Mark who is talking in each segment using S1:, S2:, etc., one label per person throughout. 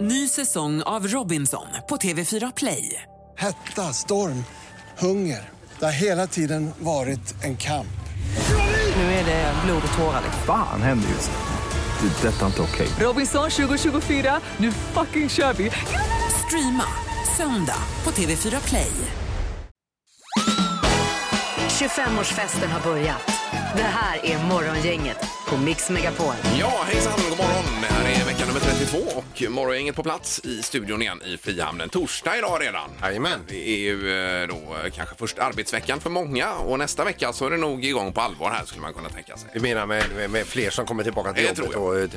S1: Ny säsong av Robinson på TV4 Play.
S2: Hetta, storm, hunger. Det har hela tiden varit en kamp.
S1: Nu är det blod och tårar. liksom.
S3: Fan händer just nu. Det. är Detta är inte okej.
S1: Robinson 2024, nu fucking kör vi! Streama söndag på TV4 Play.
S4: 25-årsfesten har börjat. Det här är Morgongänget på Mix Megapol.
S5: Ja, hejsan och god morgon. Det här är vecka nummer 32 och morgongänget på plats i studion igen i Frihamnen. Torsdag idag redan.
S6: Jajamän.
S5: Det är ju eh, då eh, kanske första arbetsveckan för många och nästa vecka så är det nog igång på allvar här skulle man kunna tänka sig.
S6: Du menar med, med, med fler som kommer tillbaka till
S5: Det
S6: jobbet
S5: tror
S6: och eh,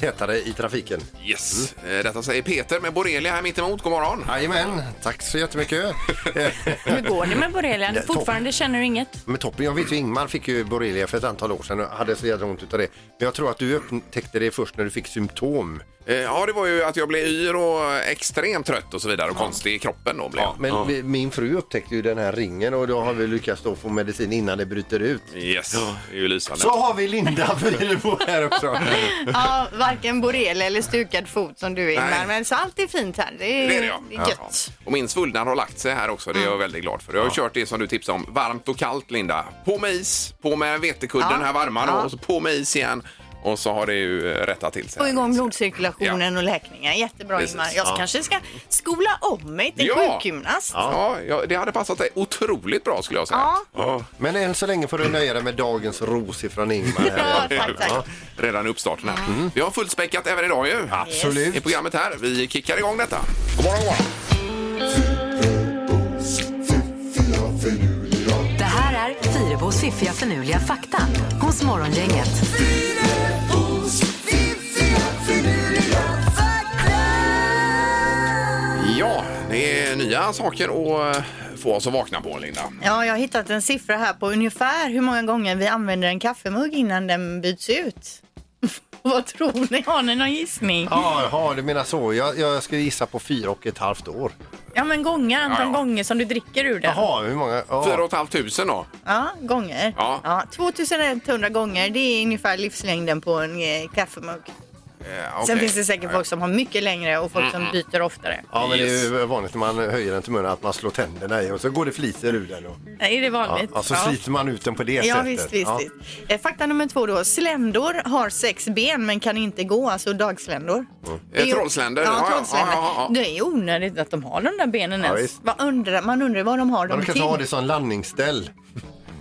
S6: tätare i trafiken?
S5: Yes! Eh, Detta säger Peter med borrelia här mittemot. God morgon!
S6: Jajamän, tack så jättemycket. Eh,
S7: Hur går det med borrelian?
S6: Ja, toppen.
S7: Fortfarande känner du inget?
S6: Men toppen, jag vet ju Ingmar fick ju borrelia för ett antal år sedan och hade så jädra ont utav det. Men jag tror att du upptäckte det först när du fick symptom.
S5: Eh, Ja, det var ju att jag blev yr och extremt trött och så vidare och konstig i kroppen då blev jag.
S6: Men vi- min fru upptäckte ju den här ringen och då har vi lyckats då få medicin innan det bryter ut.
S5: Yes, det är ju lysande.
S6: Så har vi Linda Fyrebo här också.
S8: Ja, varken borrelia eller stukad fot som du är
S5: Nej.
S8: Ingmar. Men så allt är fint här. Det är,
S5: Det är det, ja.
S8: det är gött.
S5: Ja. Och min svullnad har lagt sig här också. Det är jag väldigt glad för. Jag har kört det som du tipsade om. Varmt och kallt, Linda. På med is, på med vetekudden,
S8: Ja.
S5: den här varma då,
S8: Ja.
S5: och så på med is igen. Och så har det ju eh, rättat till sig.
S8: Få igång blodcirkulationen och läkningen. Jättebra
S5: Precis.
S8: Ingmar. Jag kanske ska skola om mig till
S5: Ja.
S8: sjukgymnast.
S5: Ja, ja, det hade passat dig otroligt bra skulle jag säga.
S8: Ja.
S6: Men än så länge får du nöja dig med dagens ros ifrån Ingmar.
S8: Ja,
S6: Här.
S8: tack, Mm. tack.
S5: Redan i uppstarten här. Vi har fullspäckat även idag ju.
S6: Absolut.
S5: I programmet här. Vi kickar igång detta. God morgon, god morgon.
S4: Det här är Fyrabos fiffiga förnuliga fakta hos Morgongänget.
S5: Ja, det är nya saker att eh, få oss att vakna på, Linda.
S8: Ja, jag har hittat en siffra här på ungefär hur många gånger vi använder en kaffemugg innan den byts ut. Vad tror ni? Har ni någon gissning? Ja,
S6: Jaha, du menar så. Jag, jag skulle gissa på fyra och ett halvt år.
S8: men gånger, antal
S5: Ja, ja.
S8: gånger som du dricker ur den.
S6: Jaha, hur många? Ja.
S5: Fyra och ett halvt tusen då.
S8: Ja, gånger.
S5: Ja.
S8: 2100 gånger, det är ungefär livslängden på en eh, kaffemugg.
S5: Eh, okej.
S8: Sen finns det säkert folk som har mycket längre och folk som byter oftare.
S6: Ja, men det är ju vanligt när man höjer den till munnen att man slår tänderna i och så går det fliser ur den. Och,
S8: Är det
S6: ja,
S8: vanligt?
S6: ja, så sliter man ut den på det
S8: Mm. Ja,
S6: sättet.
S8: visst, visst,
S6: Ja.
S8: visst. Eh, Fakta nummer två då. Sländor har sex ben men kan inte gå, alltså dagsländor.
S6: Mm.
S8: Det
S6: Eh,
S8: är ju-
S5: trollsländor, ja,
S8: Ja,
S5: ja,
S8: trollsländor.
S5: ja, ja, ja.
S8: Det är ju onödigt att de har de där benen
S6: Ja,
S8: ens.
S6: visst.
S8: Vad undrar, man undrar vad de har
S6: Man
S8: dem
S6: kan
S8: till.
S6: ta det som landningsställ.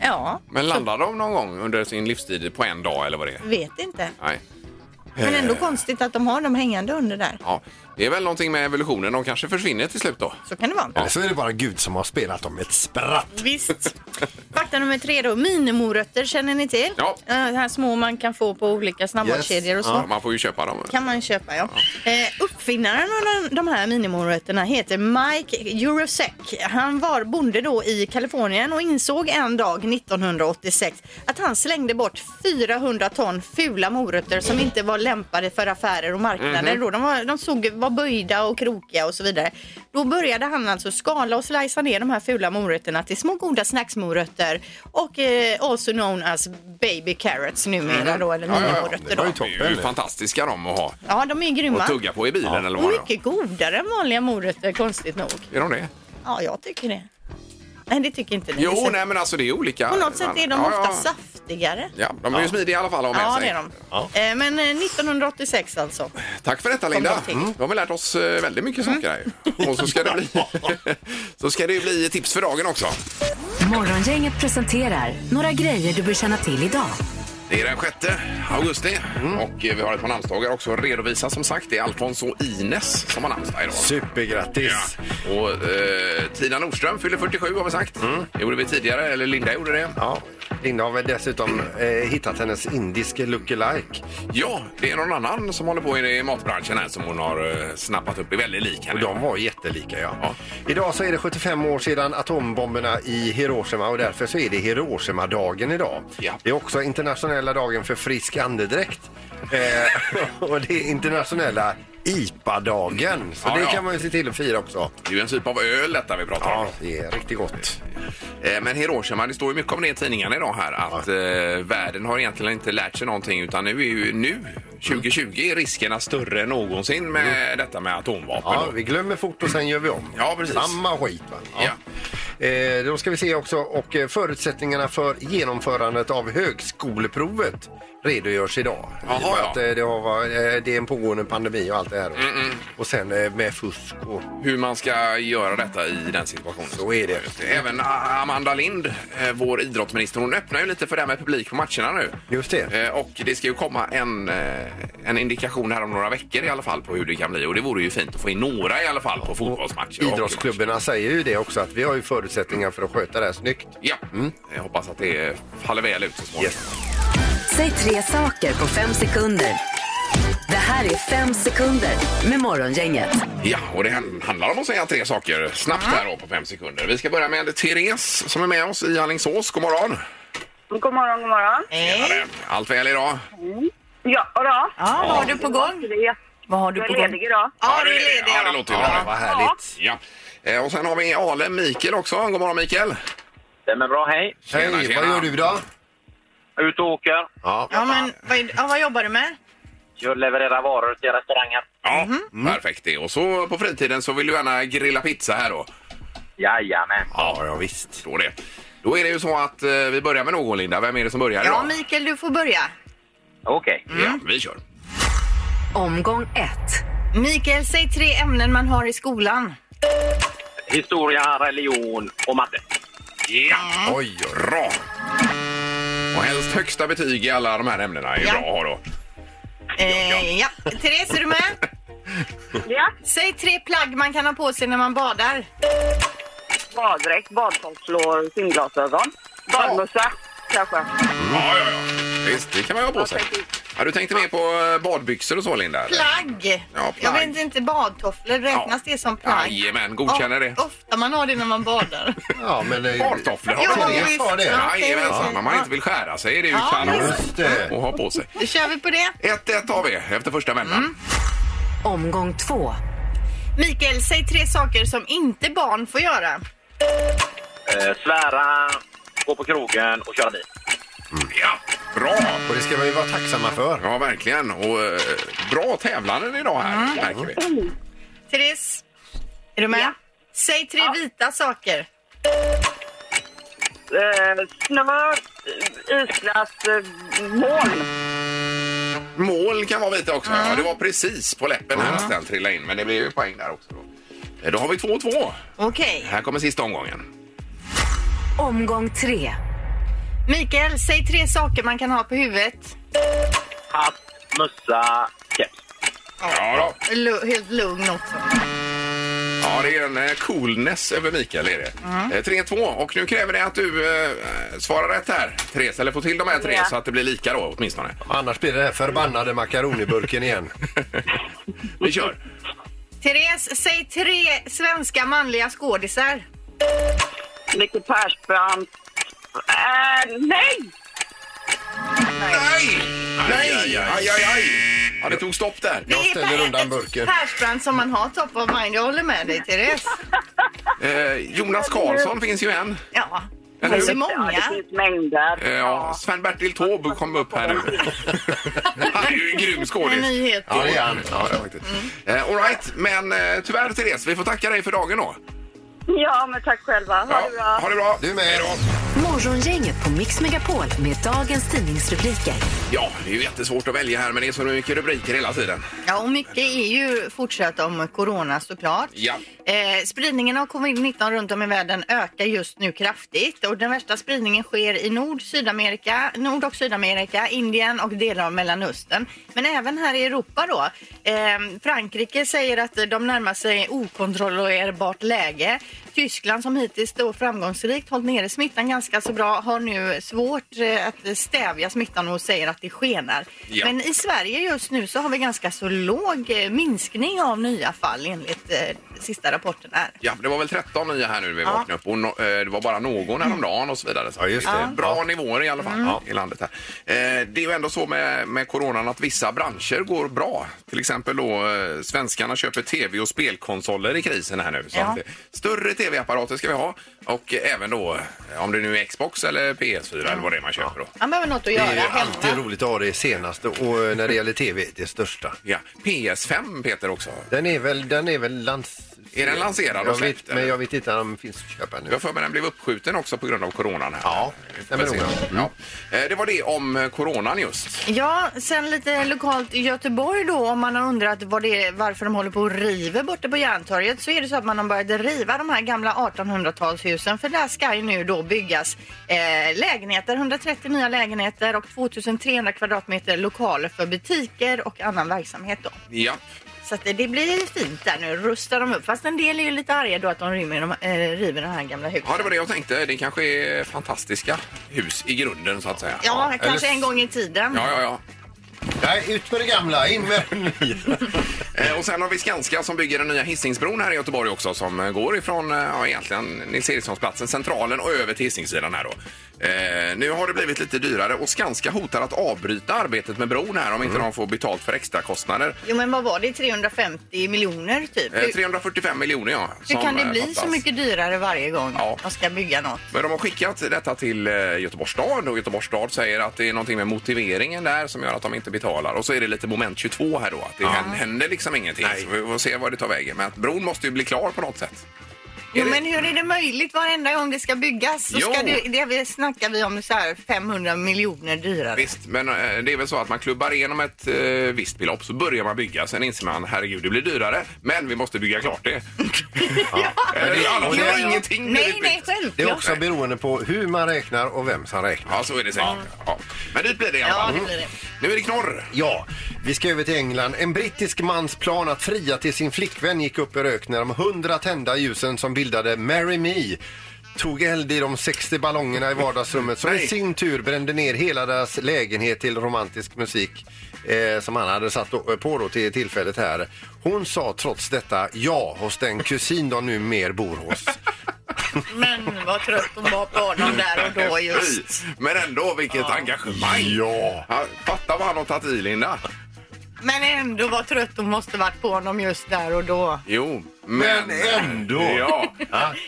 S8: Ja,
S5: Men landar de någon gång under sin livstid på en dag eller vad det är?
S8: vet inte.
S5: Nej.
S8: Men ändå
S5: Eh,
S8: konstigt att de har dem hängande under där.
S5: Ja, det är väl någonting med evolutionen. De kanske försvinner till slut då.
S8: Så kan det vara.
S6: Eller så är det bara Gud som har spelat dem ett spratt.
S8: Visst. Fakta nummer tre då. Minimorötter känner ni till?
S5: Ja.
S8: Eh, Det här små man kan få på olika snabbmatskedjor och så.
S5: Ja, man får ju köpa dem.
S8: Kan man köpa ja. Eh, uppfinnaren av de, de här minimorötterna heter Mike Eurosek. Han var bonde då i Kalifornien och insåg en dag 1986 att han slängde bort 400 ton fula morötter som inte var lämpade för affärer och marknader.
S5: Mhm.
S8: då. De, var, de såg, var böjda och krokiga och så vidare. Då började han alltså skala och slicea ner de här fula morötterna till små goda snacksmorötter och eh, also known as baby carrots numera då, eller
S5: Mhm. Ja, ja, ja.
S8: minimorötter
S6: var ju
S8: då.
S5: De är ju
S6: toppen.
S5: fantastiska de att ha
S8: Ja, de är grymma.
S5: och tugga på i bilen eller
S8: Och
S5: vad det
S8: mycket godare än vanliga morötter, konstigt nog.
S5: är. Är de det?
S8: Ja, jag tycker det. Nej, det tycker inte ni. Det
S5: Jo,
S8: är så-
S5: nej men alltså det är olika.
S8: På något sätt är de
S5: Ja,
S8: ofta
S5: ja.
S8: saftigare.
S5: Ja, de är ju smidiga i alla fall att ha med
S8: Ja,
S5: sig.
S8: det är de. Eh, Men eh, 1986 alltså.
S5: Tack för detta Linda.
S8: de till. Mm.
S5: Mm. De har lärt oss eh, väldigt mycket saker här ju. Och så ska det bli, så ska det ju bli tips för dagen också.
S4: Morgongänget presenterar några grejer du bör känna till idag.
S5: Det är den 6 augusti
S6: Mm.
S5: och eh, vi har ett par namnsdagar också att redovisa som sagt. Det är Alfons och Ines som har namnsdag idag.
S6: Supergrattis!
S5: Och eh, Tina Nordström fyller 47 har vi sagt.
S6: Mm.
S5: Det gjorde vi tidigare, eller Linda gjorde det.
S6: Ja. Linda har väl dessutom eh, hittat hennes indiske lookalike.
S5: Ja, det är någon annan som håller på i matbranschen här som hon har eh, snappat upp. Det är väldigt lik
S6: Och
S5: henne.
S6: de var jättelika ja.
S5: Ja.
S6: Idag så är det 75 år sedan atombomberna i Hiroshima och därför så är det Hiroshima-dagen idag.
S5: Ja.
S6: Det är också internationella dagen för frisk andedräkt. Eh, och det är internationella IPA-dagen. Så
S5: Ja,
S6: det
S5: ja.
S6: kan man ju se till att fira också.
S5: Det är ju en typ av öl detta vi pratar om.
S6: Ja, det är riktigt gott.
S5: Eh, Men Hiroshima, det står ju mycket om det i tidningarna idag här att eh, världen har egentligen inte lärt sig någonting utan nu är ju nu 2020 är riskerna större än någonsin med detta med atomvapen.
S6: Mm. Ja,
S5: då.
S6: vi glömmer fort och sen gör vi om.
S5: Ja, precis.
S6: Samma skit. Va? Eh, då ska vi se också och eh, förutsättningarna för genomförandet av högskoleprovet redogörs idag.
S5: Jaha,
S6: I och med
S5: ja. Mm,
S6: att eh, det, har, varit- eh, det är en pågående pandemi och allt det här. Och sen eh, med fusk och...
S5: Hur man ska göra detta i den situationen.
S6: Så är det.
S5: Just Även A- Amanda Lind, eh, vår idrottsminister, hon öppnar ju lite för det här med publik på matcherna nu.
S6: Just det.
S5: Eh, Och det ska ju komma en, eh, en indikation här om några veckor i alla fall på hur det kan bli. Och det vore ju fint att få in några i alla fall på fotbollsmatcher. och hockeymatcher.
S6: Idrottsklubbarna säger ju det också att vi har ju förutsättningar för att sköta det här snyggt.
S5: Ja, mm. jag hoppas att det faller väl ut så småningom.
S4: Säg tre saker på fem sekunder. Det här är fem sekunder med Morgongänget.
S5: Ja, och det handlar om att säga tre saker snabbt här då på fem sekunder. Vi ska börja med Therese som är med oss i Alingsås. God morgon!
S9: God morgon, god morgon.
S8: Eh,
S5: Tjenare. Allt väl idag?
S9: Ja, och då?
S7: Ja, vad har du på gång?
S9: Jag
S7: Vad har du på
S9: är
S7: gång?
S9: ledig idag.
S5: Ja, det är ledig. Ja, det låter ju
S6: Ja,
S5: bra.
S6: vad härligt.
S5: Ja. Eh, Och sen har vi Ale Mikael också. God morgon Mikael!
S10: Stämmer bra, hej.
S5: Tjena,
S6: Hej,
S5: tjena.
S6: vad gör du då?
S10: Ut och åker.
S6: Ja.
S8: Ja, men vad, är- ja, vad jobbar du med?
S10: Jag levererar varor till restauranger.
S5: Ja, Mm. perfekt det. Och så på fritiden så vill du gärna grilla pizza här då?
S10: Jajamän.
S5: Ja, ja visst. Då det. Då är det ju så att eh, vi börjar med någon Linda. Vem är det som börjar
S8: Ja,
S5: idag?
S8: Mikael, du får börja.
S10: Okej.
S5: Ja, vi kör.
S4: Omgång ett.
S8: Mikael, säg tre ämnen man har i skolan.
S10: Historia, religion och matte.
S5: Ja, oj, bra! Och helst högsta betyg i alla de här ämnena är ju
S8: Ja.
S5: bra att ha då.
S8: Eh, ja. Therese, är du med?
S9: Ja,
S8: Säg tre plagg man kan ha på sig när man badar.
S9: baddräkt, badtofflor, simglasögon. Badmössa, kanske.
S5: Ja, ja, ja. Visst, det kan man ju ha på sig. Ja, du tänkte mer på eh, badbyxor och så, Linda? eller?
S8: Plagg!
S5: plagg.
S8: Jag vet inte, badtofflor, räknas
S5: Ja.
S8: det som plagg?
S5: Jajamän, godkänner det.
S8: Ja, Ofta man har det när man badar.
S6: Ja, men... eh,
S5: Badtofflor har
S8: Ja,
S5: man
S8: visst.
S5: ju.
S6: Ja, det.
S8: Ja, okej,
S5: Jajamensan,
S8: visst.
S5: när man inte vill skära sig är det ju
S8: Ja,
S5: kanon
S6: Just det.
S5: att ha på sig.
S8: Då kör vi på det.
S5: 1-1 har vi efter första vändan.
S8: Mm.
S4: Omgång två.
S8: Mikael, säg tre saker som inte barn får göra.
S10: Eh, svära, gå på krogen och köra bil.
S5: Ja, bra!
S6: Och det ska vi ju vara tacksamma för.
S5: Ja, verkligen. Och eh, bra tävlanden idag här,
S8: Mm.
S5: märker vi.
S8: Therese, är du med? Säg tre vita saker.
S9: Eh, snö, eh, isglass, eh, moln.
S5: Mål kan vara vita också. Ja, det var precis på läppen här att den trillade in, men det blev ju poäng där också. Då, Eh, då har vi 2-2.
S8: Okej.
S5: Här kommer sista omgången.
S4: Omgång tre.
S8: Mikael, säg tre saker man kan ha på huvudet.
S10: Hatt, mössa, keps.
S5: Ja, då.
S8: Lu- helt lugn också.
S5: Ja, det är en eh, coolness över Mikael. Är det. Eh, 3-2 och nu kräver det att du eh, svarar rätt här, Therese. Eller får till de här tre
S9: Ja.
S5: så att det blir lika då åtminstone.
S6: Annars blir det den här förbannade makaroniburken igen.
S5: Vi kör.
S8: Therese, säg tre svenska manliga skådisar.
S9: Micke Persbrandt. Eh, nej!
S5: Nej! Nej! Aj, aj, aj, aj. Ja, det tog stopp där.
S8: Det är
S6: ställer
S8: Per-
S6: undan burken.
S8: Persbrandt som man har top of mind. Jag håller med dig, Therese.
S5: Eh, Jonas Karlsson finns ju en.
S8: Ja, det
S5: Eller
S8: är så
S5: hur?
S9: Ja,
S8: många.
S9: det finns mängder.
S5: Eh, ja, Sven-Bertil Taube kom upp här nu. Han är ju en grym
S8: En
S5: skådis.
S8: nyhet.
S6: Ja, det är han.
S5: Ja, det är faktiskt. Eh, all right, men eh, tyvärr Therese, vi får tacka dig för dagen då.
S9: Ja, men tack själva. Ha det bra.
S5: Ha det bra.
S6: Du med.
S5: Hej då.
S4: Morgongänget på Mix Megapol med dagens tidningsrubriker.
S5: Ja, det är ju jättesvårt att välja här men det är så mycket rubriker hela tiden.
S8: Ja, och mycket är ju fortsatt om corona såklart.
S5: Ja.
S8: Eh, spridningen av covid-19 runt om i världen ökar just nu kraftigt och den värsta spridningen sker i Nord, Sydamerika, Nord och Sydamerika, Indien och delar av Mellanöstern. Men även här i Europa då. Eh, Frankrike säger att de närmar sig okontrollerbart läge. Tyskland som hittills då framgångsrikt hållit nere smittan ganska ganska så bra har nu svårt eh, att stävja smittan och säger att det skenar.
S11: Ja.
S8: Men i Sverige just nu så har vi ganska så låg eh, minskning av nya fall enligt eh, sista rapporten här.
S5: Ja, det var väl 13 nya här nu vi vaknade upp och no, eh, det var bara någon häromdagen och så vidare. Så
S6: just det. Mm.
S5: eh, Bra nivåer i alla fall i landet här. Eh, det är ju ändå så med, med coronan att vissa branscher går bra. Till exempel då eh, svenskarna köper tv och spelkonsoler i krisen här nu. Så
S12: Ja.
S5: att, eh, större tv-apparater ska vi ha och eh, även då eh, om det nu är Xbox eller PS4 eller vad det är man köper då.
S8: Han behöver något att
S6: Det
S8: göra
S6: är ju
S8: hemma.
S6: alltid roligt att ha det senaste och eh, när det gäller tv, det största.
S5: Ja, PS5 Peter också.
S6: Den är väl, den är väl lans...
S5: Är den lanserad och
S6: Jag
S5: släppt,
S6: vet, men
S5: eller?
S6: jag vet inte om den finns att köpa nu.
S5: Jag har för mig den blev uppskjuten också på grund av coronan. Här. Ja,
S6: det stämmer nog.
S5: ja. Eh, Det var det om eh, coronan just.
S8: Ja, sen lite lokalt i Göteborg då om man har undrat vad det är, varför de håller på och river borta på Järntorget så är det så att man har börjat riva de här gamla 1800-talshusen för där ska ju nu då byggas eh, lägenheter, 130 nya lägenheter och 2300 kvadratmeter lokaler för butiker och annan verksamhet då.
S5: Ja.
S8: Så att det, det blir fint där nu, rustar de upp. Fast en del är ju lite arga då att de rymmer de, eh, river de här gamla husen.
S5: Ja, det var det jag tänkte. Det kanske är fantastiska hus i grunden så att säga.
S8: Ja, kanske en gång i tiden.
S5: Ja, ja, ja.
S6: Nej, ut med det gamla, in med det nya.
S5: Eh, Och sen har vi Skanska som bygger den nya Hisingsbron här i Göteborg också som eh, går ifrån eh, ja, egentligen Nils Erikssonsplatsen, Centralen och över till Hisingssidan här då. Eh, nu har det blivit lite dyrare och Skanska hotar att avbryta arbetet med bron här om inte de får betalt för extra kostnader.
S8: Jo men vad var det, 350 miljoner typ?
S5: Eh, 345 miljoner ja.
S8: Hur
S5: som,
S8: kan det
S5: eh,
S8: bli så
S5: fattas.
S8: mycket dyrare varje gång
S5: Ja.
S8: man ska bygga något?
S5: Men de har skickat detta till eh, Göteborgs stad och Göteborgs stad säger att det är någonting med motiveringen där som gör att de inte betalar. Och så är det lite moment 22 här då, att det händer- händer liksom ingenting. Så vi får se vad det tar vägen. Men att bron måste ju bli klar på något sätt.
S8: Jo, men hur är det möjligt varenda gång det ska byggas? Så
S5: Jo.
S8: ska det, det vi snackar vi om så här 500 miljoner dyrare.
S5: Visst, men eh, det är väl så att man klubbar igenom ett eh, visst belopp så börjar man bygga. Sen inser man, herregud, det blir dyrare, men vi måste bygga klart det. Eh, Eller, Eh, alla
S6: Och det-
S5: klarar ingenting. när det
S8: Nej,
S5: blir
S8: nej,
S5: byggt.
S8: självklart.
S6: Det är också beroende på hur man räknar och vem som räknar.
S5: Ja, så är det säkert. Ja. Men det blir det i alla
S8: Ja,
S5: fall.
S8: det blir det.
S5: Nu är det knorr.
S6: Ja, vi ska över till England. En brittisk mans plan att fria till sin flickvän gick upp i rök när de hundra tända ljusen som bildade Marry Me tog eld i de 60 ballongerna i vardagsrummet som i sin tur brände ner hela deras lägenhet till romantisk musik eh, som han hade satt då- på då till tillfället här. Hon sa trots detta ja hos den kusin de nu mer bor hos.
S8: Men vad trött hon var på honom där och då just.
S5: Men ändå, vilket engagemang!
S6: Ja.
S5: Ja, Fatta vad han har tagit i, Linda.
S8: Men ändå vad trött hon måste varit på honom just där och då.
S5: Jo, men... eh,
S6: Men ändå.
S5: Ja,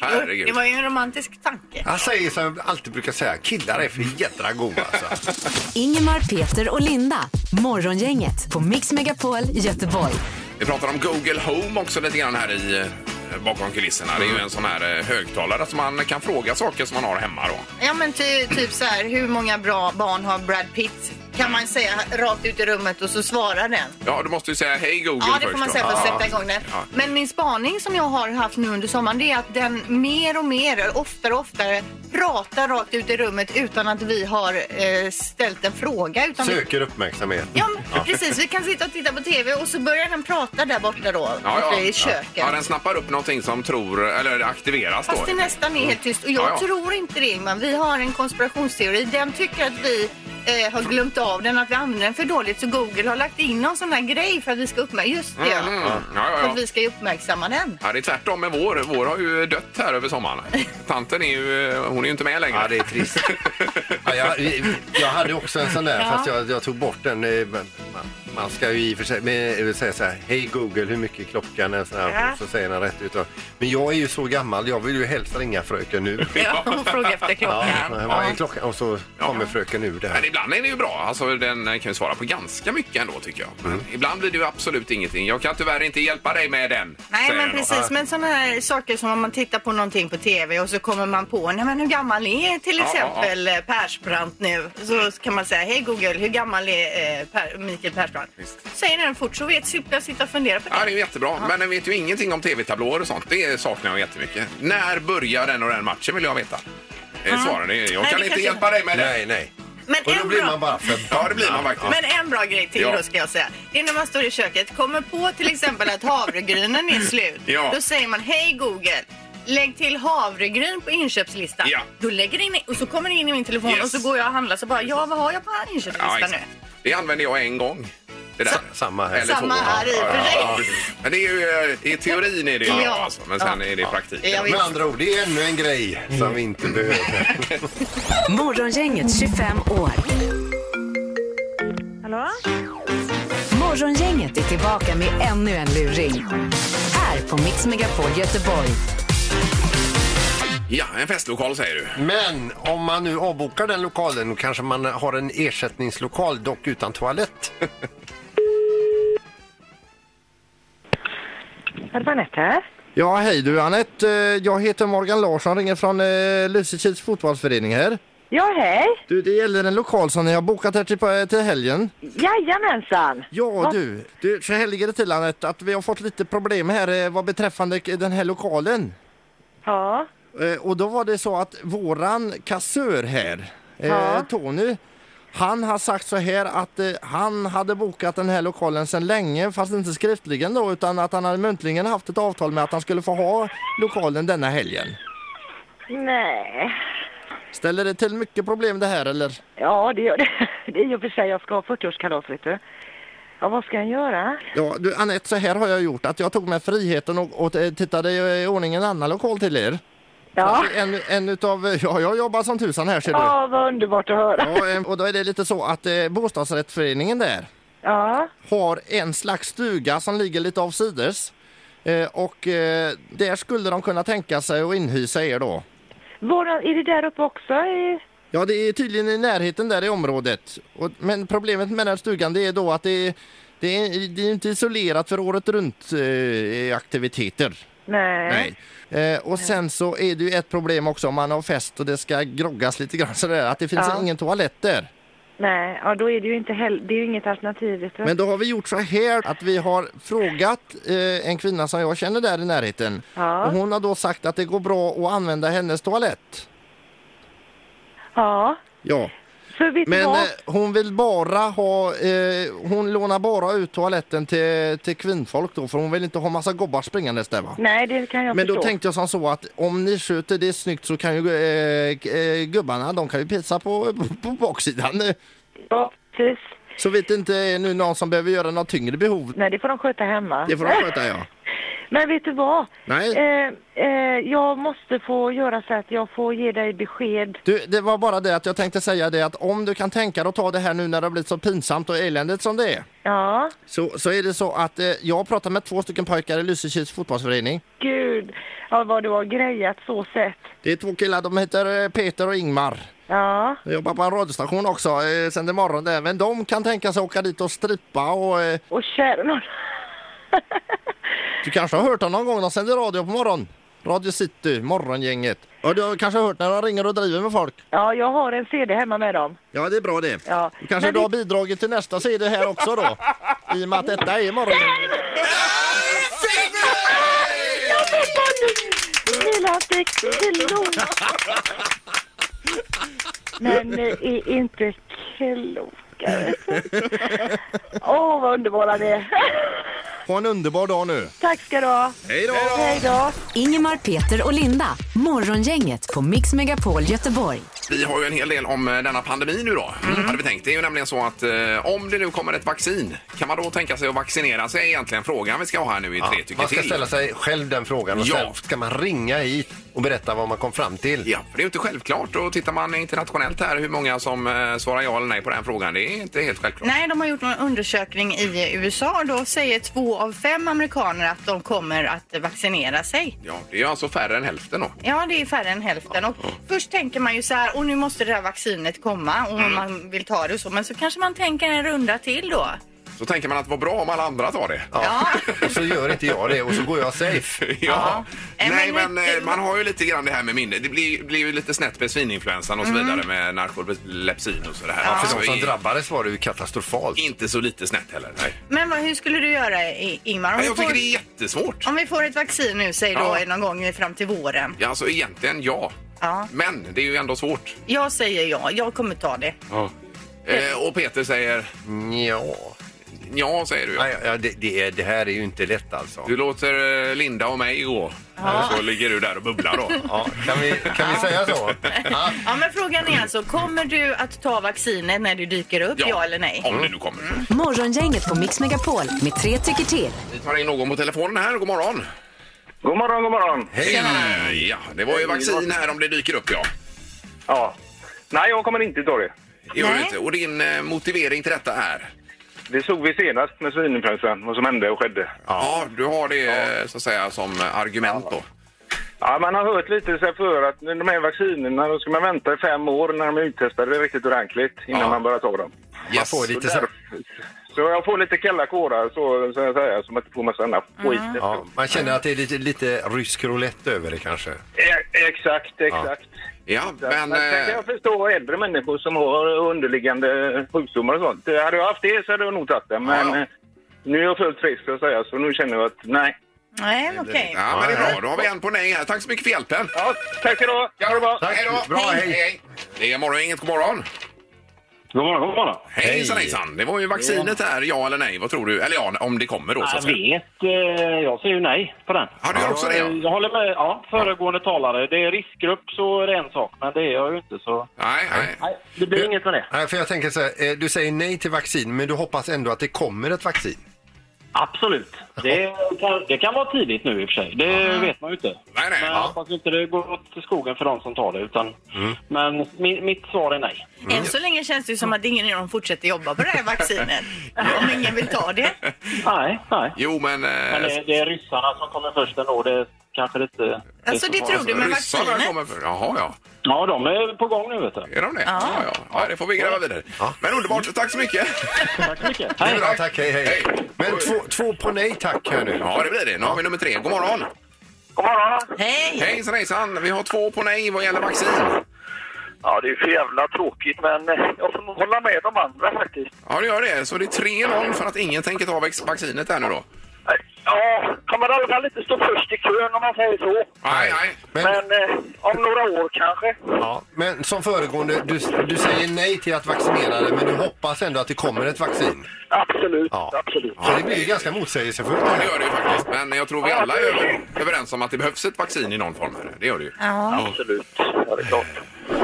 S5: herregud.
S8: Det var ju en romantisk tanke.
S6: Han säger som jag alltid brukar säga, killar är för jädra goa alltså.
S4: Ingemar, Peter och Linda. Morgongänget på Mix Megapol Göteborg.
S5: Vi pratar om Google Home också lite grann här i eh, bakom kulisserna. Det
S6: Mm.
S5: är ju en sån här eh, högtalare som man kan fråga saker som man har hemma då.
S8: Ja men ty, typ så här, hur många bra barn har Brad Pitt? Kan man säga rakt ut i rummet och så svarar den.
S5: Ja, du måste ju säga hej Google
S8: Ja, det
S5: först
S8: får man
S5: då.
S8: säga för att
S5: Ja.
S8: sätta igång den.
S5: Ja.
S8: Men min spaning som jag har haft nu under sommaren det är att den mer och mer, oftare och oftare pratar rakt ut i rummet utan att vi har eh, ställt en fråga. Utan vi,
S6: Söker uppmärksamhet.
S8: ja, men precis. Vi kan sitta och titta på TV och så börjar den prata där borta då,
S5: Ja,
S8: borta
S5: ja.
S8: i köket.
S5: Ja, den snappar upp någonting som tror, eller aktiveras
S8: Fast
S5: då.
S8: det nästan är helt tyst. Och jag
S5: Ja, ja.
S8: tror inte det, men Vi har en konspirationsteori. Den tycker att vi eh, har glömt av den, att vi använder den för dåligt. Så Google har lagt in någon sån här grej för att vi ska uppmärksamma... Just det,
S5: Mm, ja, ja, ja.
S8: För att vi ska uppmärksamma den.
S5: Ja, det är tvärtom med vår. Vår har ju dött här över sommaren. Tanten är ju, eh, hon är ju inte med längre. Ja,
S6: det är trist. Ja, jag, jag hade också en sån där,
S5: Ja.
S6: fast jag, jag tog bort den. eh, Man, man ska ju i och för sig men, eh, säga så här, hej Google, hur mycket är klockan? En sån här,
S8: Ja.
S6: och Så säger den rätt ut. och- Men jag är ju så gammal, jag vill ju helst ringa fröken nu.
S8: Ja, hon frågar efter klockan.
S6: Ja, vad är klockan? Och så kommer fröken nu där.
S5: Men ibland är det ju bra. Alltså, den kan ju svara på ganska mycket ändå tycker jag. Men
S6: Mm.
S5: ibland blir det ju absolut ingenting. Jag kan tyvärr inte hjälpa dig med den.
S8: Nej,
S5: säger
S8: men
S5: den då.
S8: precis. Men sådana här saker som om man tittar på någonting på tv och så kommer man på, nej men hur gammal är till
S5: Ja, ja, ja.
S8: exempel ja, Persbrandt nu? Så kan man säga, hej Google, hur gammal är eh, per, Mikael Persbrandt? Säger den fort så vet slipper jag sitta och fundera på det.
S5: Ja, det är ju jättebra. Men den vet ju ingenting om tv-tablåer och sånt. Det saknar jag jättemycket. När börjar den och den matchen vill jag veta. Mm. Svaren är
S8: Nej,
S5: jag
S8: det
S5: kan inte
S8: kanske-
S5: hjälpa dig med det.
S6: Nej, nej.
S8: Men
S5: Och då
S8: en
S5: blir
S8: bra-
S5: man bara förbannad. Ja, det blir man faktiskt.
S8: Men en bra grej till
S5: Ja.
S8: då ska jag säga. Det är när man står i köket, kommer på till exempel att havregrynen är slut.
S5: Ja.
S8: Då säger man, hej Google, Lägg till havregryn på inköpslistan.
S5: Ja.
S8: Då lägger det in, och så kommer det in i min telefon
S5: Yes.
S8: och så går jag och handlar så bara, ja vad har jag på här inköpslistan nu?
S5: exakt. Det använde jag en gång. Det där.
S6: Samma här.
S5: Eller
S8: Samma
S5: två.
S8: här i och för sig.
S5: Men det är ju eh, i teorin är det ju
S8: Ja.
S5: bra alltså. Men sen
S8: Ja.
S5: är det i praktiken.
S8: Ja,
S6: Med andra ord, det är ännu en grej som vi inte behöver.
S4: Morgongänget 25 år.
S9: Hallå?
S4: Morgongänget är tillbaka med ännu en luring. Här på Mix Megapol Göteborg.
S5: Ja, en festlokal säger du.
S6: Men om man nu avbokar den lokalen då kanske man har en ersättningslokal, dock utan toalett.
S9: Är det Anette här?
S11: Ja, hej du Anette. Eh, Jag heter Morgan Larsson, ringer från eh, Lysekils fotbollsförening här.
S9: Ja, hej.
S11: Du, det gäller en lokal som ni har bokat här till, eh, till helgen.
S9: Jajamensan.
S11: Ja du, du så här ligger det till Anette att vi har fått lite problem här eh, vad beträffande k- den här lokalen.
S9: Ja.
S11: Eh, Och då var det så att våran kassör här, eh, Tony, han har sagt så här att eh, han hade bokat den här lokalen sedan länge, fast inte skriftligen då, utan att han hade muntligen haft ett avtal med att han skulle få ha lokalen denna helgen.
S9: Nej.
S11: Ställer det till mycket problem det här eller?
S9: Ja, det gör det. Det är ju för sig. Jag ska ha 40-årskalas, vet du. Ja, vad ska jag göra?
S11: Ja, du Anette, så här har jag gjort att jag tog med friheten och, och eh, tittade i i ordning en annan lokal till er.
S9: Ja.
S11: Alltså, En, en utav, eh, ja jag jobbar som tusan här ser du.
S9: Ja, vad underbart att höra.
S11: Ja, eh, och då är det lite så att eh, bostadsrättsföreningen där
S9: Ja.
S11: har en slags stuga som ligger lite avsides. Eh, och eh, där skulle de kunna tänka sig att inhysa er då.
S9: Våra, är det där uppe också? i-
S11: Ja, det är tydligen i närheten där i området. Och, men problemet med den här stugan det är då att det är, det är, det är inte isolerat för året runt eh, aktiviteter.
S9: Nej.
S11: Eh, och sen så är det ju ett problem också om man har fest och det ska groggas lite grann sådär, att det finns
S9: Ja.
S11: ingen toalett där.
S9: Nej, ja, då är det ju inte heller, det är ju inget alternativ. Vet du?
S11: Men då har vi gjort så här att vi har frågat eh, en kvinna som jag känner där i närheten.
S9: Ja.
S11: Och hon har då sagt att det går bra att använda hennes toalett.
S9: Ja,
S11: Ja.
S9: så vet du
S11: Men
S9: vad?
S11: eh, hon vill bara ha, eh, hon lånar bara ut toaletten till, till kvinnfolk då för hon vill inte ha massa gobbar springandes där va?
S9: Nej, det kan jag
S11: Men då
S9: förstå.
S11: tänkte jag som så att om ni sköter det snyggt så kan ju eh, g- eh, gubbarna, de kan ju pissa på, på, på baksidan. eh.
S9: Ja, precis.
S11: Så vet inte eh, nu någon som behöver göra något tyngre behov.
S9: Nej, det får de sköta hemma.
S11: Det får de sköta ja.
S9: Men vet du vad?
S11: Nej.
S9: Eh, eh, jag måste få göra så att jag får ge dig besked.
S11: Du, det var bara det att jag tänkte säga det att om du kan tänka dig att ta det här nu när det har blivit så pinsamt och eländigt som det är.
S9: Ja,
S11: Så, så är det så att eh, jag har pratat med två stycken pojkar i Lysekils fotbollsförening.
S9: gud. Ja, vad du har grejat så sett.
S11: Det är två killar, de heter eh, Peter och Ingmar.
S9: Ja,
S11: De jobbar på en radiostation också eh, sen imorgon där. Men de kan tänka sig åka dit och strippa och eh,
S9: och kära nån.
S11: du kanske har hört dem någon gång, de sänder radio på morgon. Radio City, morgongänget. Ja, du har kanske hört när de ringer och driver med folk.
S9: Ja, jag har en CD hemma med dem.
S11: Ja, det är bra det.
S9: Ja.
S11: Du kanske
S9: Men
S11: du
S9: vi-
S11: har bidragit till nästa CD här också då? I och med att detta är morgongänget.
S9: Hela sex kilo. Men ni är inte kloka. vet du. Åh, vad underbara ni är.
S11: Ha en underbar dag nu.
S9: Tack ska du ha.
S11: Hej då!
S9: Hej då.
S4: Ingemar, Peter och Linda. Morgongänget på Mix Megapol Göteborg.
S5: Vi har ju en hel del om eh, denna pandemi nu då,
S8: Mm.
S5: hade vi tänkt. Det är ju nämligen så att eh, om det nu kommer ett vaccin, kan man då tänka sig att vaccinera sig? är egentligen frågan vi ska ha här nu i tre tycker
S6: Man ska
S5: till.
S6: ställa sig själv den frågan och
S5: Ja.
S6: sen ska man ringa hit och berätta vad man kom fram till.
S5: Ja, för det är ju inte självklart. Och tittar man internationellt här hur många som eh, svarar ja eller nej på den frågan, det är inte helt självklart.
S8: Nej, de har gjort en undersökning i USA. Då säger två av fem amerikaner att de kommer att vaccinera sig.
S5: Ja, det är ju alltså färre än hälften då.
S8: Ja, det är färre än hälften. Och först tänker man ju så här, och nu måste det här vaccinet komma
S5: Mm.
S8: och man vill ta det och så. Men så kanske man tänker en runda till då.
S5: Så tänker man att vad bra om alla andra tar det.
S8: Ja.
S6: Och så gör inte jag det och så går jag safe.
S5: Ja.
S8: Nej,
S5: Nej, men,
S8: men lite-
S5: eh, man har ju lite grann det här med minne. Det blir, blir ju lite snett med svininfluensan och så vidare med narkolepsin och sådär. Ja, Alltså,
S6: För de som drabbades var det ju katastrofalt.
S5: Inte så lite snett heller. Nej.
S8: Men vad, hur skulle du göra, I- Ingmar? Om,
S5: Nej,
S8: vi
S5: jag tycker
S8: får,
S5: det är jättesvårt.
S8: om vi får ett vaccin nu, säg då
S5: Ja.
S8: någon gång fram till våren.
S5: Ja, alltså egentligen ja.
S8: Ja.
S5: Men det är ju ändå svårt.
S8: Jag säger ja, jag kommer ta det.
S5: Eh, och Peter säger
S6: Ja.
S5: Ja, säger du.
S6: Nej, ja, det, det, är, det här är ju inte lätt alltså.
S5: Du låter eh, Linda och mig gå. Och så ligger du där och bubblar då.
S6: Ja, kan vi, kan vi säga så?
S8: Ja, men frågan är alltså, kommer du att ta vaccinet när du dyker upp? Ja, eller nej?
S5: Om det nu kommer.
S4: Mm. Morgongänget på Mix Megapol med tre tycker till.
S5: Vi tar in någon på telefonen här. God morgon.
S10: God morgon, god morgon.
S5: Hej! Ja, det var ju vaccin här om det dyker upp ja.
S10: Ja. Nej, jag kommer inte ta det.
S5: Det Gör det inte. Och din eh, motivering till detta är?
S10: Det såg vi senast med svininfluensan, vad som hände och skedde.
S5: Ja, du har det eh, så att säga som eh, argument då.
S10: Ja, man har hört lite sig för att de här vaccinerna, då ska man vänta i fem år när de är uttestade riktigt ordentligt innan
S5: Ja.
S10: man börjar ta dem.
S5: Yes.
S6: Får lite så...
S10: Så jag får lite kalla kårar så, så att säga, som att det får massa annat
S5: Mm.
S10: skit.
S6: ja, man känner att det är lite, lite rysk roulette över det kanske.
S10: E- exakt, exakt.
S5: Ja,
S10: Men,
S5: men...
S10: sen kan
S5: Eh,
S10: jag förstå äldre människor som har underliggande sjukdomar och sånt. Hade jag haft det så hade jag nog tagit det. Men
S5: Ja.
S10: eh, nu är jag fullt frisk så att säga, så nu känner jag att nej.
S8: Nej, okej.
S5: ja, men det är bra. Då har vi en på nej här. Tack så mycket för hjälpen.
S10: Ja, tack ska du ha.
S5: Ja, det bra.
S6: Tack.
S5: Hej då.
S6: Bra, hej.
S5: Det är morgon, inget god morgon.
S10: God morgon, god morgon.
S5: Hejsan, hejsan. Det var ju vaccinet här, ja eller nej. Vad tror du? Eller ja, om det kommer då så
S12: Jag
S5: att säga.
S12: vet, eh, jag säger ju nej på den.
S5: Ja, du gör också det, ja.
S12: Jag, jag håller med ja, föregående talare. Det är riskgrupp så är det en sak, men det är jag ju inte så...
S5: Nej, nej.
S12: Nej, det blir inget med det.
S6: Nej, för jag tänker så här, eh, du säger nej till vaccin men du hoppas ändå att det kommer ett vaccin.
S12: Absolut. Det kan, det kan vara tidigt nu i och för sig. Det vet man ju inte.
S5: Nej, nej.
S12: Men jag
S5: Ja.
S12: hoppas inte det går åt till skogen för de som tar det. Utan, Men min, mitt svar är nej.
S8: Än så länge känns det ju som att ingen av dem fortsätter jobba på det här vaccinet. Om ingen vill ta det.
S12: Nej, nej.
S5: Jo, men...
S12: Men
S5: Eh,
S12: det, det är ryssarna som kommer först ändå. Det kanske lite...
S8: Alltså, det
S12: som-
S8: tror du med
S5: ryssarna
S8: vaccinet?
S5: kommer för... Jaha, ja.
S12: Ja, de är på gång nu vet du.
S5: Är de det? Ja, ja. ja. det får vi gräva vidare. Men underbart. Tack så mycket.
S12: Tack så mycket.
S6: Det
S12: Hej.
S6: är bra, tack, hej, hej.
S5: Hej.
S6: Men två, två på nej tack här nu.
S5: Ja, det blir det. Nu har vi nummer tre. God morgon.
S10: God morgon.
S8: Hej!
S5: Hejsan, hejsan. Vi har två på nej vad gäller vaccin.
S10: Ja, det är för jävla tråkigt, men eh, jag får nog hålla med de andra faktiskt.
S5: Ja, det gör det. Så det är 3-0 för att ingen tänker ta vax- vaccinet här nu då.
S10: Eh, Ja, kommer i alla fall inte stå först i kön om man säger så.
S5: Nej, nej.
S6: Men,
S10: Men eh, om några år kanske.
S6: ja, men som föregående, du, du säger nej till att vaccinera dig men du hoppas ändå att det kommer ett vaccin.
S10: Absolut,
S6: Ja.
S10: absolut.
S6: Så det blir ju ganska motsägelsefullt.
S5: Ja, det gör det ju faktiskt. Men jag tror vi alla är över- överens om att det behövs ett vaccin i någon form. Här. Det gör det ju.
S10: Absolut, ja det är klart.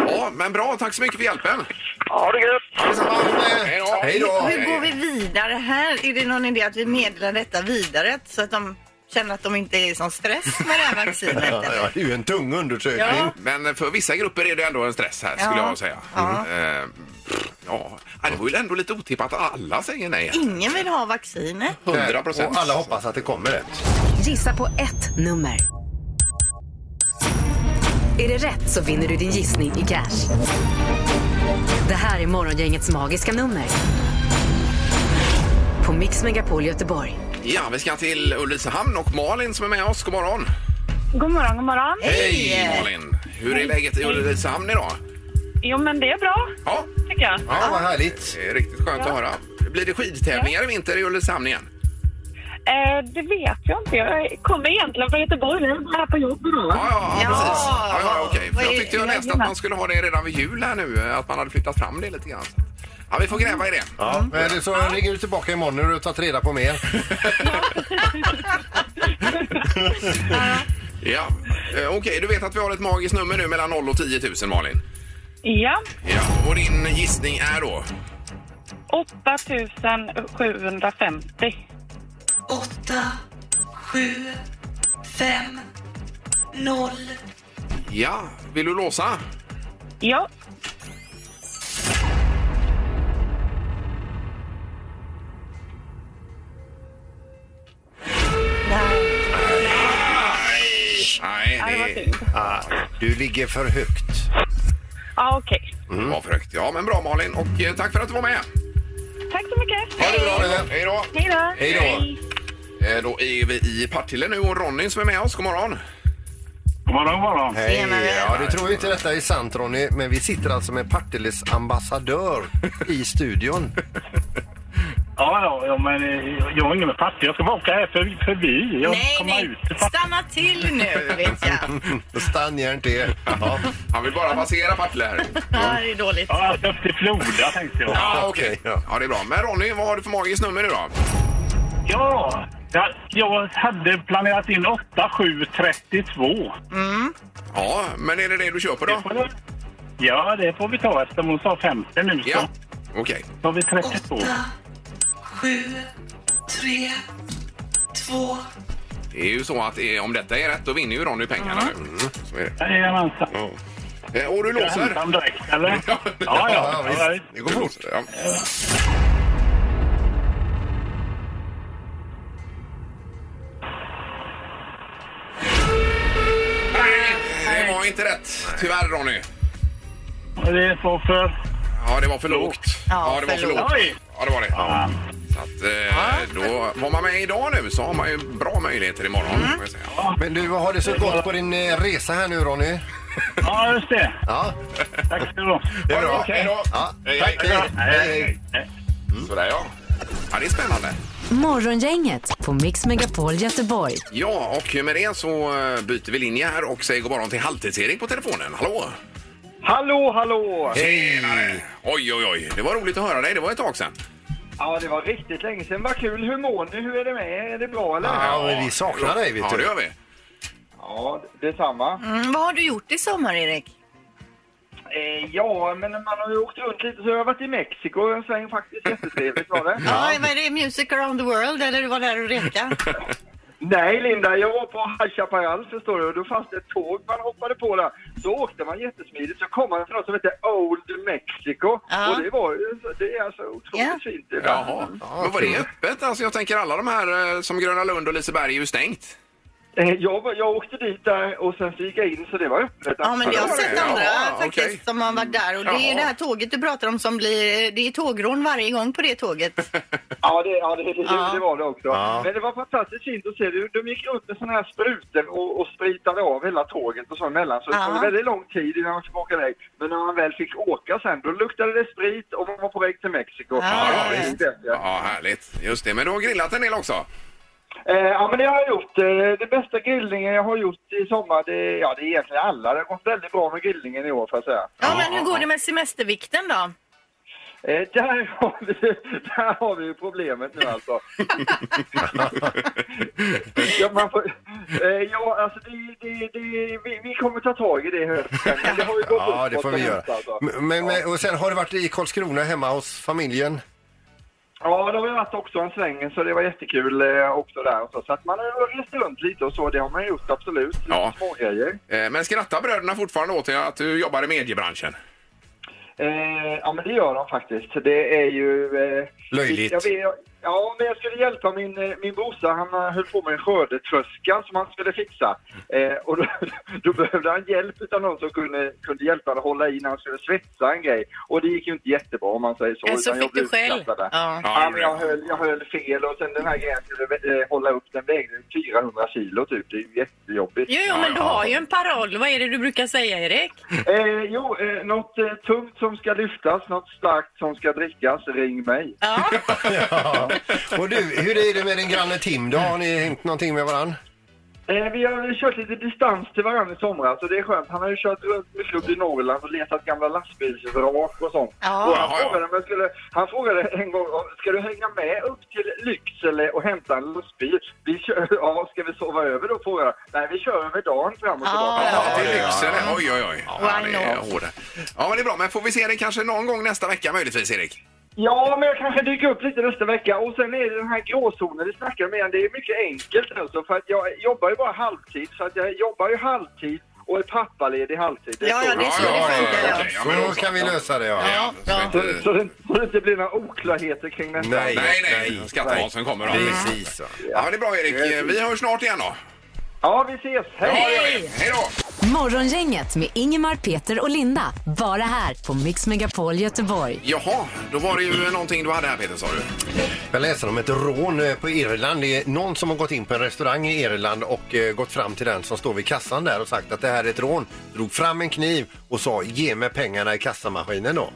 S5: Ja, men bra. Tack så mycket för hjälpen.
S10: Ha det gött!
S5: Hej då.
S6: eh, Hej då!
S8: Hur går vi vidare här? Är det någon idé att vi meddelar detta vidare så att de känner att de inte är i sån stress med det här vaccinet?
S6: Ja,
S8: eller?
S6: ja, det är ju en tung undersökning.
S8: Ja.
S5: Men för vissa grupper är det ändå en stress här, skulle
S8: Ja.
S5: jag säga.
S8: Ja.
S5: Eh, pff, ja. Ja, Det var ju ändå lite otippat att alla säger nej.
S8: Ingen vill ha vaccinet.
S5: 100 procent.
S6: Och alla hoppas att det kommer ett.
S4: Gissa på ett nummer. Är det rätt så vinner du din gissning i cash. Det här är Morgongängets magiska nummer. På Mix Megapol Göteborg.
S5: Ja, vi ska till Ulricehamn och Malin som är med oss. God morgon!
S9: God morgon, god morgon.
S5: Hej Malin! Hur är läget i Ulricehamn idag?
S9: Jo, men det är bra,
S5: Ja,
S9: tycker jag.
S6: Ja, vad härligt.
S5: det är riktigt skönt att höra. Blir det skidtävlingar i vinter i Ulricehamn igen?
S9: Eh, det vet jag inte. Jag kommer egentligen från Göteborg, men jag är här på jobb idag.
S5: Ja, ja, ja
S8: Ja.
S5: precis. Ja, ja, okej. För
S9: Vad
S5: jag
S9: är-
S5: tyckte jag läste att man skulle ha det redan vid jul här nu, att man hade flyttat fram det lite grann. Ja, vi får
S9: Mm.
S5: gräva i det.
S6: Ja, Mm. men det är så ringer du tillbaka imorgon när du har tagit reda på mer.
S5: Ja. Eh, Okej, du vet att vi har ett magiskt nummer nu mellan 0 och 10 000, Malin.
S9: Ja,
S5: Ja, och din gissning är då?
S9: 8750.
S5: Ja, vill du låsa?
S9: Ja,
S5: Nej,
S9: det var
S5: det,
S9: synd.
S6: Du ligger för högt.
S9: Ja, okej.
S5: det var för högt. Ja, men bra Malin och eh, tack för att du var med.
S9: Tack så mycket.
S5: Ha det bra. Hej då.
S9: Hej då.
S5: Hej då. Eh, Då är vi i Partille nu och Ronny som är med oss. God morgon.
S10: God morgon, god morgon.
S6: Hej.
S8: Tjena, vän.
S6: Ja, du tror ju inte detta är sant Ronny, men vi sitter alltså med Partilles ambassadör i studion.
S10: Ja, ja, ja men eh, jag är ingen fattig. Jag ska bara åka här för, förbi. Jag
S8: Nej,
S10: kommer
S8: nej.
S10: ut.
S8: Stanna till nu, vet jag.
S6: Stann järn till.
S5: Han vill bara passera Partille här.
S8: Ja, det är dåligt.
S10: Ja, upp till Floda tänkte jag.
S5: Ja, okej. Ja, det är bra. Men Ronny, vad har du för magiskt nummer nu då?
S10: Ja, jag, jag hade planerat in 8732.
S5: Mm. Ja, men är det det du köper då?
S10: Ja, det får vi ta eftersom hon sa 50 nu. Så.
S5: Ja, okej.
S10: Då har vi 32.
S1: Sju, tre, två.
S5: Det är ju så att eh, om detta är rätt, då vinner ju Ronny pengarna nu. Så är det.
S10: Jajamensan.
S5: Eh, Och du
S10: Ska jag
S5: låser?
S10: hämta dem direkt, eller? Ja, ja. ja,
S5: Det går fort. Ja. Nej, det var inte rätt. Tyvärr Ronny.
S10: Det var för...
S5: Ja, det var för lågt. Ja, det var för lågt.
S10: Oj.
S5: Ja, det var det. Så att, eh, då var man med idag nu så har man ju bra möjligheter imorgon. får jag säga.
S6: Men du, har det så gott på din eh, resa här nu Ronny?
S10: Ja, just det.
S6: Ja.
S10: Tack ska du ha.
S6: Det är bra.
S5: Okej.
S6: Hej då. Ja,
S5: Hej,
S6: tack.
S5: hej.
S6: Hej, hej.
S5: Mm. Sådär ja. Ja, det är spännande.
S4: Morgongänget på Mix Megapol Göteborg.
S5: Ja, och med det så eh, byter vi linje här och säger god morgon till Halvtids-Erik på telefonen. Hallå!
S13: Hallå, hallå!
S5: Tjenare! Oj, oj, oj. Det var roligt att höra dig. Det var ett tag sedan.
S13: Ja, det var riktigt länge sedan. Vad kul. Hur mår ni? Hur är det med er? Är det bra eller?
S6: men vi saknar dig, vet
S5: ja,
S6: du.
S5: det gör vi.
S13: Ja, detsamma.
S8: Mm, vad har du gjort i sommar, Erik?
S13: Eh, ja, men man har ju åkt runt lite så jag har varit i Mexiko en sväng faktiskt. Jättetrevligt var det.
S8: Ja. vad är det? Music around the world, eller du var där och reka?
S13: Nej, Linda, jag var på High Chaparral förstår du och då fanns det ett tåg man hoppade på där. Då åkte man jättesmidigt så kom man till något som heter Old Mexico
S8: Ja.
S13: och det var ju, det är alltså otroligt fint.
S5: Jaha. Men var det öppet? Alltså, jag tänker alla de här eh, som Gröna Lund och Liseberg är ju stängt.
S13: Eh, Jag, var- jag åkte dit där och sen så gick jag in så det var öppet.
S8: Ja, men jag har sett andra faktiskt som har varit där. Och det är
S13: Jaha.
S8: det här tåget du pratar om som blir... Det är tågrån varje gång på det tåget.
S13: Ja, det, ja, det, det,
S8: Ja.
S13: det var det också.
S8: Ja.
S13: Men det var fantastiskt fint att se. De, de gick runt med såna här sprutor och, och spritade av hela tåget och så emellan. Så det
S8: Ja.
S13: tog väldigt lång tid innan man fick åka iväg. Men när man väl fick åka sen, då luktade det sprit och man var på väg till Mexiko.
S5: Ja, visst. Ja, härligt. Just det. Men du har grillat en del också.
S13: Eh, ja, men det har jag gjort. Eh, det bästa grillningen jag har gjort i sommar, det, ja, det är egentligen alla. Det har gått väldigt bra med grillningen i år, får jag säga.
S8: Ja, men hur går det med semestervikten då?
S13: Eh, där, har vi, där har vi ju problemet nu alltså. ja, man får, eh, ja, alltså det, det, det, vi, vi kommer ta tag i det i höst. Men Det har ju gått
S6: Ja, det
S13: uppåt
S6: får vi
S13: och
S6: göra.
S13: hänt, alltså.
S6: Men, men, men- och sen har du varit i Karlskrona hemma hos familjen?
S13: Ja, det har vi varit också en sväng så det var jättekul eh, också där. Och så. så att man har rest runt lite och så, det har man gjort absolut.
S5: Ja.
S13: Smågrejer.
S5: Eh, Men skrattar bröderna fortfarande åt dig att du jobbar i mediebranschen?
S13: Eh, ja, men det gör de faktiskt. Det är ju... Eh,
S5: Löjligt.
S13: Jag vet, ja, men jag skulle hjälpa min, eh, min brorsa. Han eh, höll på med en skördetröska som han skulle fixa. Eh, och då, då behövde han hjälp av någon som kunde, kunde hjälpa honom att hålla i när han skulle svetsa en grej. Och det gick ju inte jättebra om man säger så.
S8: Eh, så
S13: utan jag
S8: fick du
S13: blev
S8: skäll?
S13: utkastad där.
S8: Ja.
S13: Ja, men jag, höll, jag höll fel och sen den här grejen skulle eh, hålla upp. Den vägde 400 kilo typ. Det är ju jättejobbigt.
S7: Jo, jo, men du har ju en paroll. Vad är det du brukar säga, Erik?
S13: Eh, jo, eh, något eh, tungt som ska lyftas, något starkt som ska drickas, ring mig.
S6: Och du, hur är det med din granne Tim då? Har ni hängt någonting med varann?
S13: Eh, vi har kört lite distans till varandra i somras och det är skönt. Han har ju kört runt mycket upp i Norrland och letat gamla lastbilsvrak och sånt.
S8: Ja.
S13: Och han,
S8: Ja, ja.
S13: frågade om jag skulle, han frågade en gång om ska du hänga med upp till Lycksele och hämta en lastbil? Vi kör, ja, ska vi sova över då? frågade jag. Nej, vi kör över dagen fram och tillbaka.
S5: Ja, till Lycksele. Oj, oj, oj. Ja, det är hårda. Ja, men det är bra. Men får vi se dig kanske någon gång nästa vecka möjligtvis, Erik?
S13: Ja, men jag kanske dyker upp lite nästa vecka. Och sen är det den här gråzonen vi snackar om igen. Det är mycket enkelt alltså, för att jag jobbar ju bara halvtid. Så att jag jobbar ju halvtid och är pappaledig halvtid.
S6: Ja, ja, det är så det funkar, ja.
S5: okej. Ja, men då
S6: Så
S5: så.
S6: kan vi lösa det, ja.
S5: Ja,
S13: Så, så, det, så det inte blir några oklarheter kring detta.
S5: Nej, nej, nej. Skattebasen kommer då.
S6: Precis. Ja.
S5: Ja, men det är bra, Erik. Vi hörs snart igen då.
S13: Ja, vi ses.
S5: Ja, det gör vi. Hej då!
S4: Morgongänget med Ingemar, Peter och Linda. Bara här på Mix Megapol Göteborg.
S5: Jaha, då var det ju någonting du hade här, Peter, sa du.
S6: Jag läser om ett rån eh, på Irland. Det är någon som har gått in på en restaurang i Irland och eh, gått fram till den som står vid kassan där och sagt att det här är ett rån. Drog fram en kniv och sa ge mig pengarna i kassamaskinen då.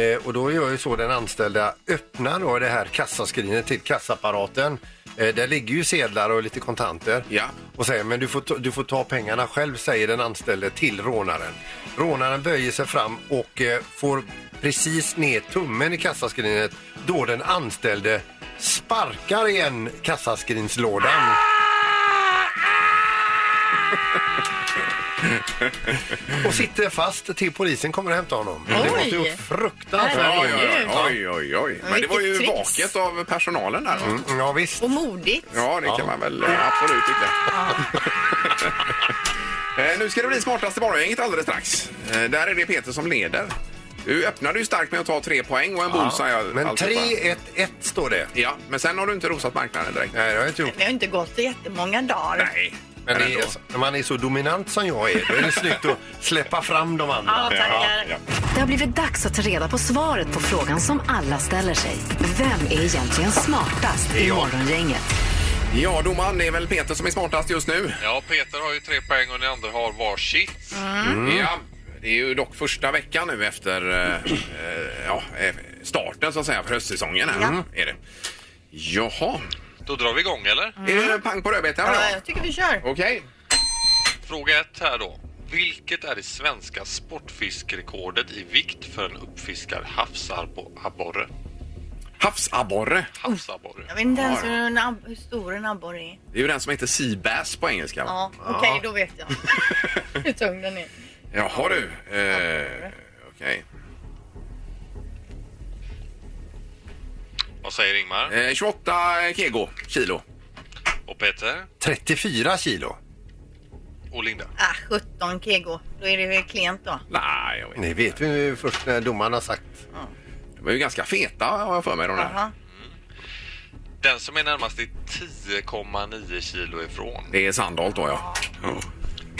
S6: Eh, och då gör ju så den anställda öppnar då det här kassaskrinet till kassaapparaten. Eh, där ligger ju sedlar och lite kontanter.
S5: Ja.
S6: Och säger men du får, ta, du får ta pengarna själv säger den anställde till rånaren. Rånaren böjer sig fram och eh, får precis ner tummen i kassaskrinet då den anställde sparkar igen kassaskrinslådan. och sitter fast till polisen kommer och hämtar honom. Det måste ju vara fruktansvärt.
S5: Oj, oj, oj, oj, oj. Men det var ju
S6: Vilket Mm.
S5: vaket av personalen där. va?
S6: Ja, visst.
S8: Och modigt.
S5: Ja, det kan man väl eh, absolut tycka. Eh, nu ska det bli smartaste morgongänget alldeles strax. Eh, Där är det Peter som leder. Du öppnade ju starkt med att ta tre poäng och en bullseye.
S6: Men
S5: alltihopa.
S6: 3-1-1 står det.
S5: Ja, men sen har du inte rosat marknaden direkt.
S6: Nej, det har jag inte gjort.
S8: Det har inte gått så jättemånga dagar.
S5: Nej.
S6: Men det är, när man är så dominant som jag är, då är det snyggt att släppa fram de andra.
S4: Ja, tackar. Det har blivit dags att ta reda på svaret på frågan som alla ställer sig. Vem är egentligen smartast i Morgongänget?
S5: Ja, domaren, det är väl Peter som är smartast just nu.
S14: Ja, Peter har ju tre poäng och ni andra har varsitt.
S5: Mm. Ja, det är ju dock första veckan nu efter eh, eh, ja, eh, starten så att säga för höstsäsongen. Här, Mm. är det. Jaha.
S14: Då drar vi igång eller?
S5: Är det pang på rödbetan?
S8: Ja, jag tycker vi kör.
S5: Okej.
S14: Fråga ett här då. Vilket är det svenska sportfiskrekordet i vikt för en uppfiskad havsabborre?
S5: Havsabborre.
S14: Havsabborre.
S8: Jag vet inte ens hur, en ab- hur stor en abborre är.
S5: Det är ju den som heter Seabass på engelska. va?
S8: Ja, okej, då vet jag. hur tung den är.
S5: Jaha du. Eh, Okej.
S14: Vad säger Ingmar?
S5: Eh, 28 kego, kilo.
S14: Och Peter?
S6: 34 kilo.
S14: Och Linda?
S8: Ah, 17 kego. Då är det väl klent då.
S5: Nej, jag vet
S6: Det vet vi ju först när domaren har sagt.
S5: De är ju ganska feta har jag för mig de där.
S8: Jaha.
S14: Den som är närmast är 10,9 kilo ifrån.
S5: Det är Sandholt då ja. Oh.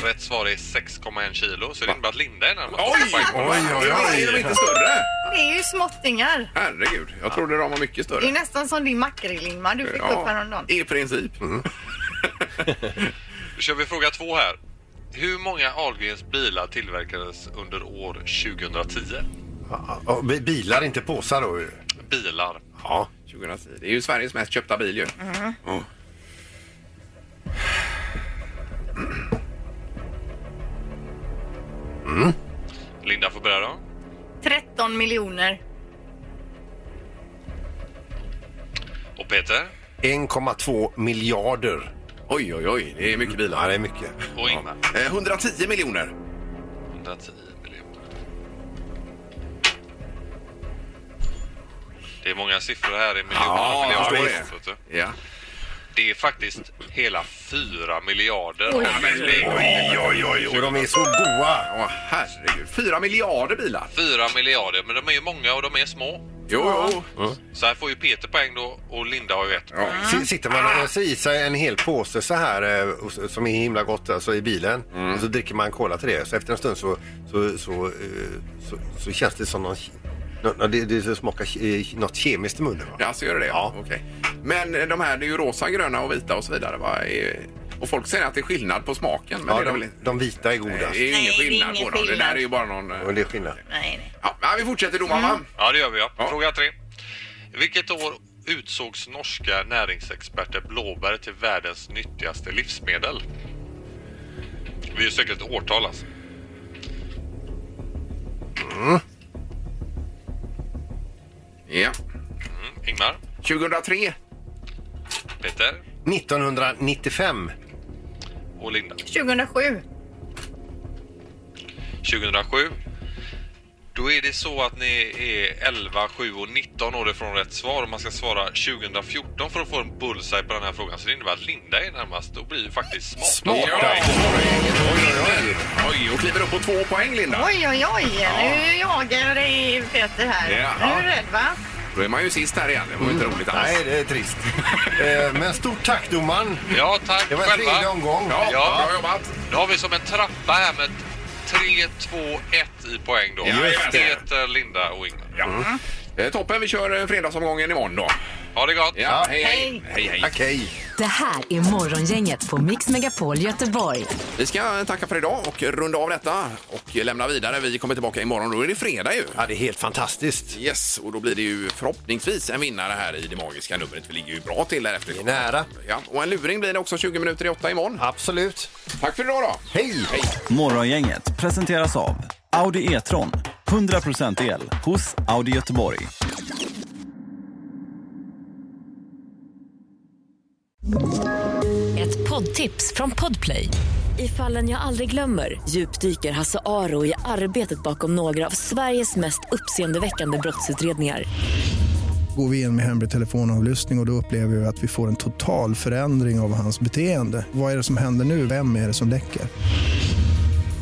S14: Rätt svar är 6,1 kilo så det innebär att Linda är närmast.
S5: Oj! Oj, oj, oj. Är de inte större?
S8: Det är ju småttingar.
S5: Herregud, jag trodde de var mycket
S8: Det är
S5: större.
S8: nästan som din makrill Ingmar, du fick upp häromdagen.
S5: I princip. Mm.
S14: Då kör vi fråga två här. Hur många Ahlgrens bilar tillverkades under år 2010?
S6: Och bi- bilar, inte påsar då. ju.
S14: Bilar.
S6: Ja.
S5: 2010. Det är ju Sveriges mest köpta bil ju.
S8: Mm.
S5: Oh.
S14: Linda får börja då.
S8: 13 miljoner.
S14: Och Peter?
S6: 1,2 miljarder.
S5: Oj, oj, oj. Det är mycket bilar.
S6: Ja, det är mycket.
S14: Och Ingmar?
S5: Eh, 110 miljoner.
S14: 110 miljoner. Det är många siffror här i miljoner.
S5: Ja,
S14: och
S5: jag
S14: miljarder,
S5: förstår
S14: vet du.
S5: Ja.
S14: Det är faktiskt hela 4 miljarder.
S5: Oj, oj, oj, oj.
S6: Och de är så goa.
S5: Åh, herregud. Fyra miljarder bilar.
S14: 4 miljarder, men de är ju många och de är små.
S5: Jo, jo.
S14: Så här får ju Peter poäng då och Linda har ju ett poäng.
S6: S- Sitter man och öser i sig en hel påse så här eh, och s- som är himla gott alltså, i bilen och så dricker man cola till det. Så efter en stund så, så, så, eh, så, så känns det som någon, ki- nå- nå- det, det smakar ki- eh, något kemiskt i munnen. Va?
S5: Ja, så gör det det? Ja. Okej. Men eh, de här, det är ju rosa, gröna och vita och så vidare. Va? Eh, Och folk säger att det är skillnad på smaken. Men
S6: Ja,
S5: det är
S6: de,
S5: väl-
S6: de vita är
S5: det
S6: godast.
S5: är ju
S8: Nej,
S5: ingen
S8: det är
S5: skillnad
S8: ingen
S5: på dem. Det där
S8: skillnad.
S5: är ju bara någon... eh,
S6: Och det är skillnad.
S8: Nej, nej.
S5: Ja, men vi fortsätter domaren, va?
S14: Ja, det gör vi. Ja.
S5: Ja.
S14: Fråga tre. Vilket år utsågs norska näringsexperter blåbär till världens nyttigaste livsmedel? Vi söker ett årtal alltså.
S5: Ja.
S14: Mm. Ingmar,
S5: 2003.
S14: Peter
S6: 1995.
S14: och Linda.
S8: 2007.
S14: 2007. Då är det så att ni är 11, 7 och 19 år ifrån rätt svar och man ska svara 2014 för att få en bullseye på den här frågan. Så det innebär att Linda är närmast och blir ju faktiskt smart.
S6: Smart.
S5: Ja. Oj, oj, oj. Oj, och kliver upp på två poäng, Linda.
S8: Oj, oj, oj. Nu jagar jag dig Peter här.
S5: Ja.
S8: Är du rädd va?
S5: Då är man ju sist här igen. Det var ju inte roligt alls.
S6: Nej, det är trist. Eh, Men stort tack domaren.
S14: Ja, tack
S6: Det var en
S14: själva.
S6: trevlig omgång.
S5: Ja,
S14: Ja.
S5: bra jobbat.
S14: Då har vi som en trappa här med 3, 2, 1 i poäng då.
S5: Just det.
S14: Peter, Linda och Ingmar.
S5: Ja. Eh, Toppen, vi kör eh, fredagsomgången imorgon då.
S14: Ha det gott!
S5: Ja,
S4: hej,
S5: hej! Hej, hej!
S4: Det här är Morgongänget på Mix Megapol Göteborg.
S5: Vi ska eh, tacka för idag och runda av detta och lämna vidare. Vi kommer tillbaka imorgon. Då är det fredag ju.
S6: Ja, det är helt fantastiskt.
S5: Yes, och då blir det ju förhoppningsvis en vinnare här i det magiska numret. Vi ligger ju bra till där efter.
S6: nära.
S5: Ja, och en luring blir det också 20 minuter i åtta imorgon.
S6: Absolut.
S5: Tack för idag då.
S6: Hej!
S5: Hej.
S15: Morgongänget presenteras av Audi E-tron. 100% el hos Audi Göteborg.
S16: Ett poddtips från Podplay. I fallen jag aldrig glömmer djupdyker Hasse Aro i arbetet bakom några av Sveriges mest uppseendeväckande brottsutredningar.
S17: Går vi in med hemlig telefonavlyssning och, och då upplever vi att vi får en total förändring av hans beteende. Vad är det som händer nu? Vem är det som läcker?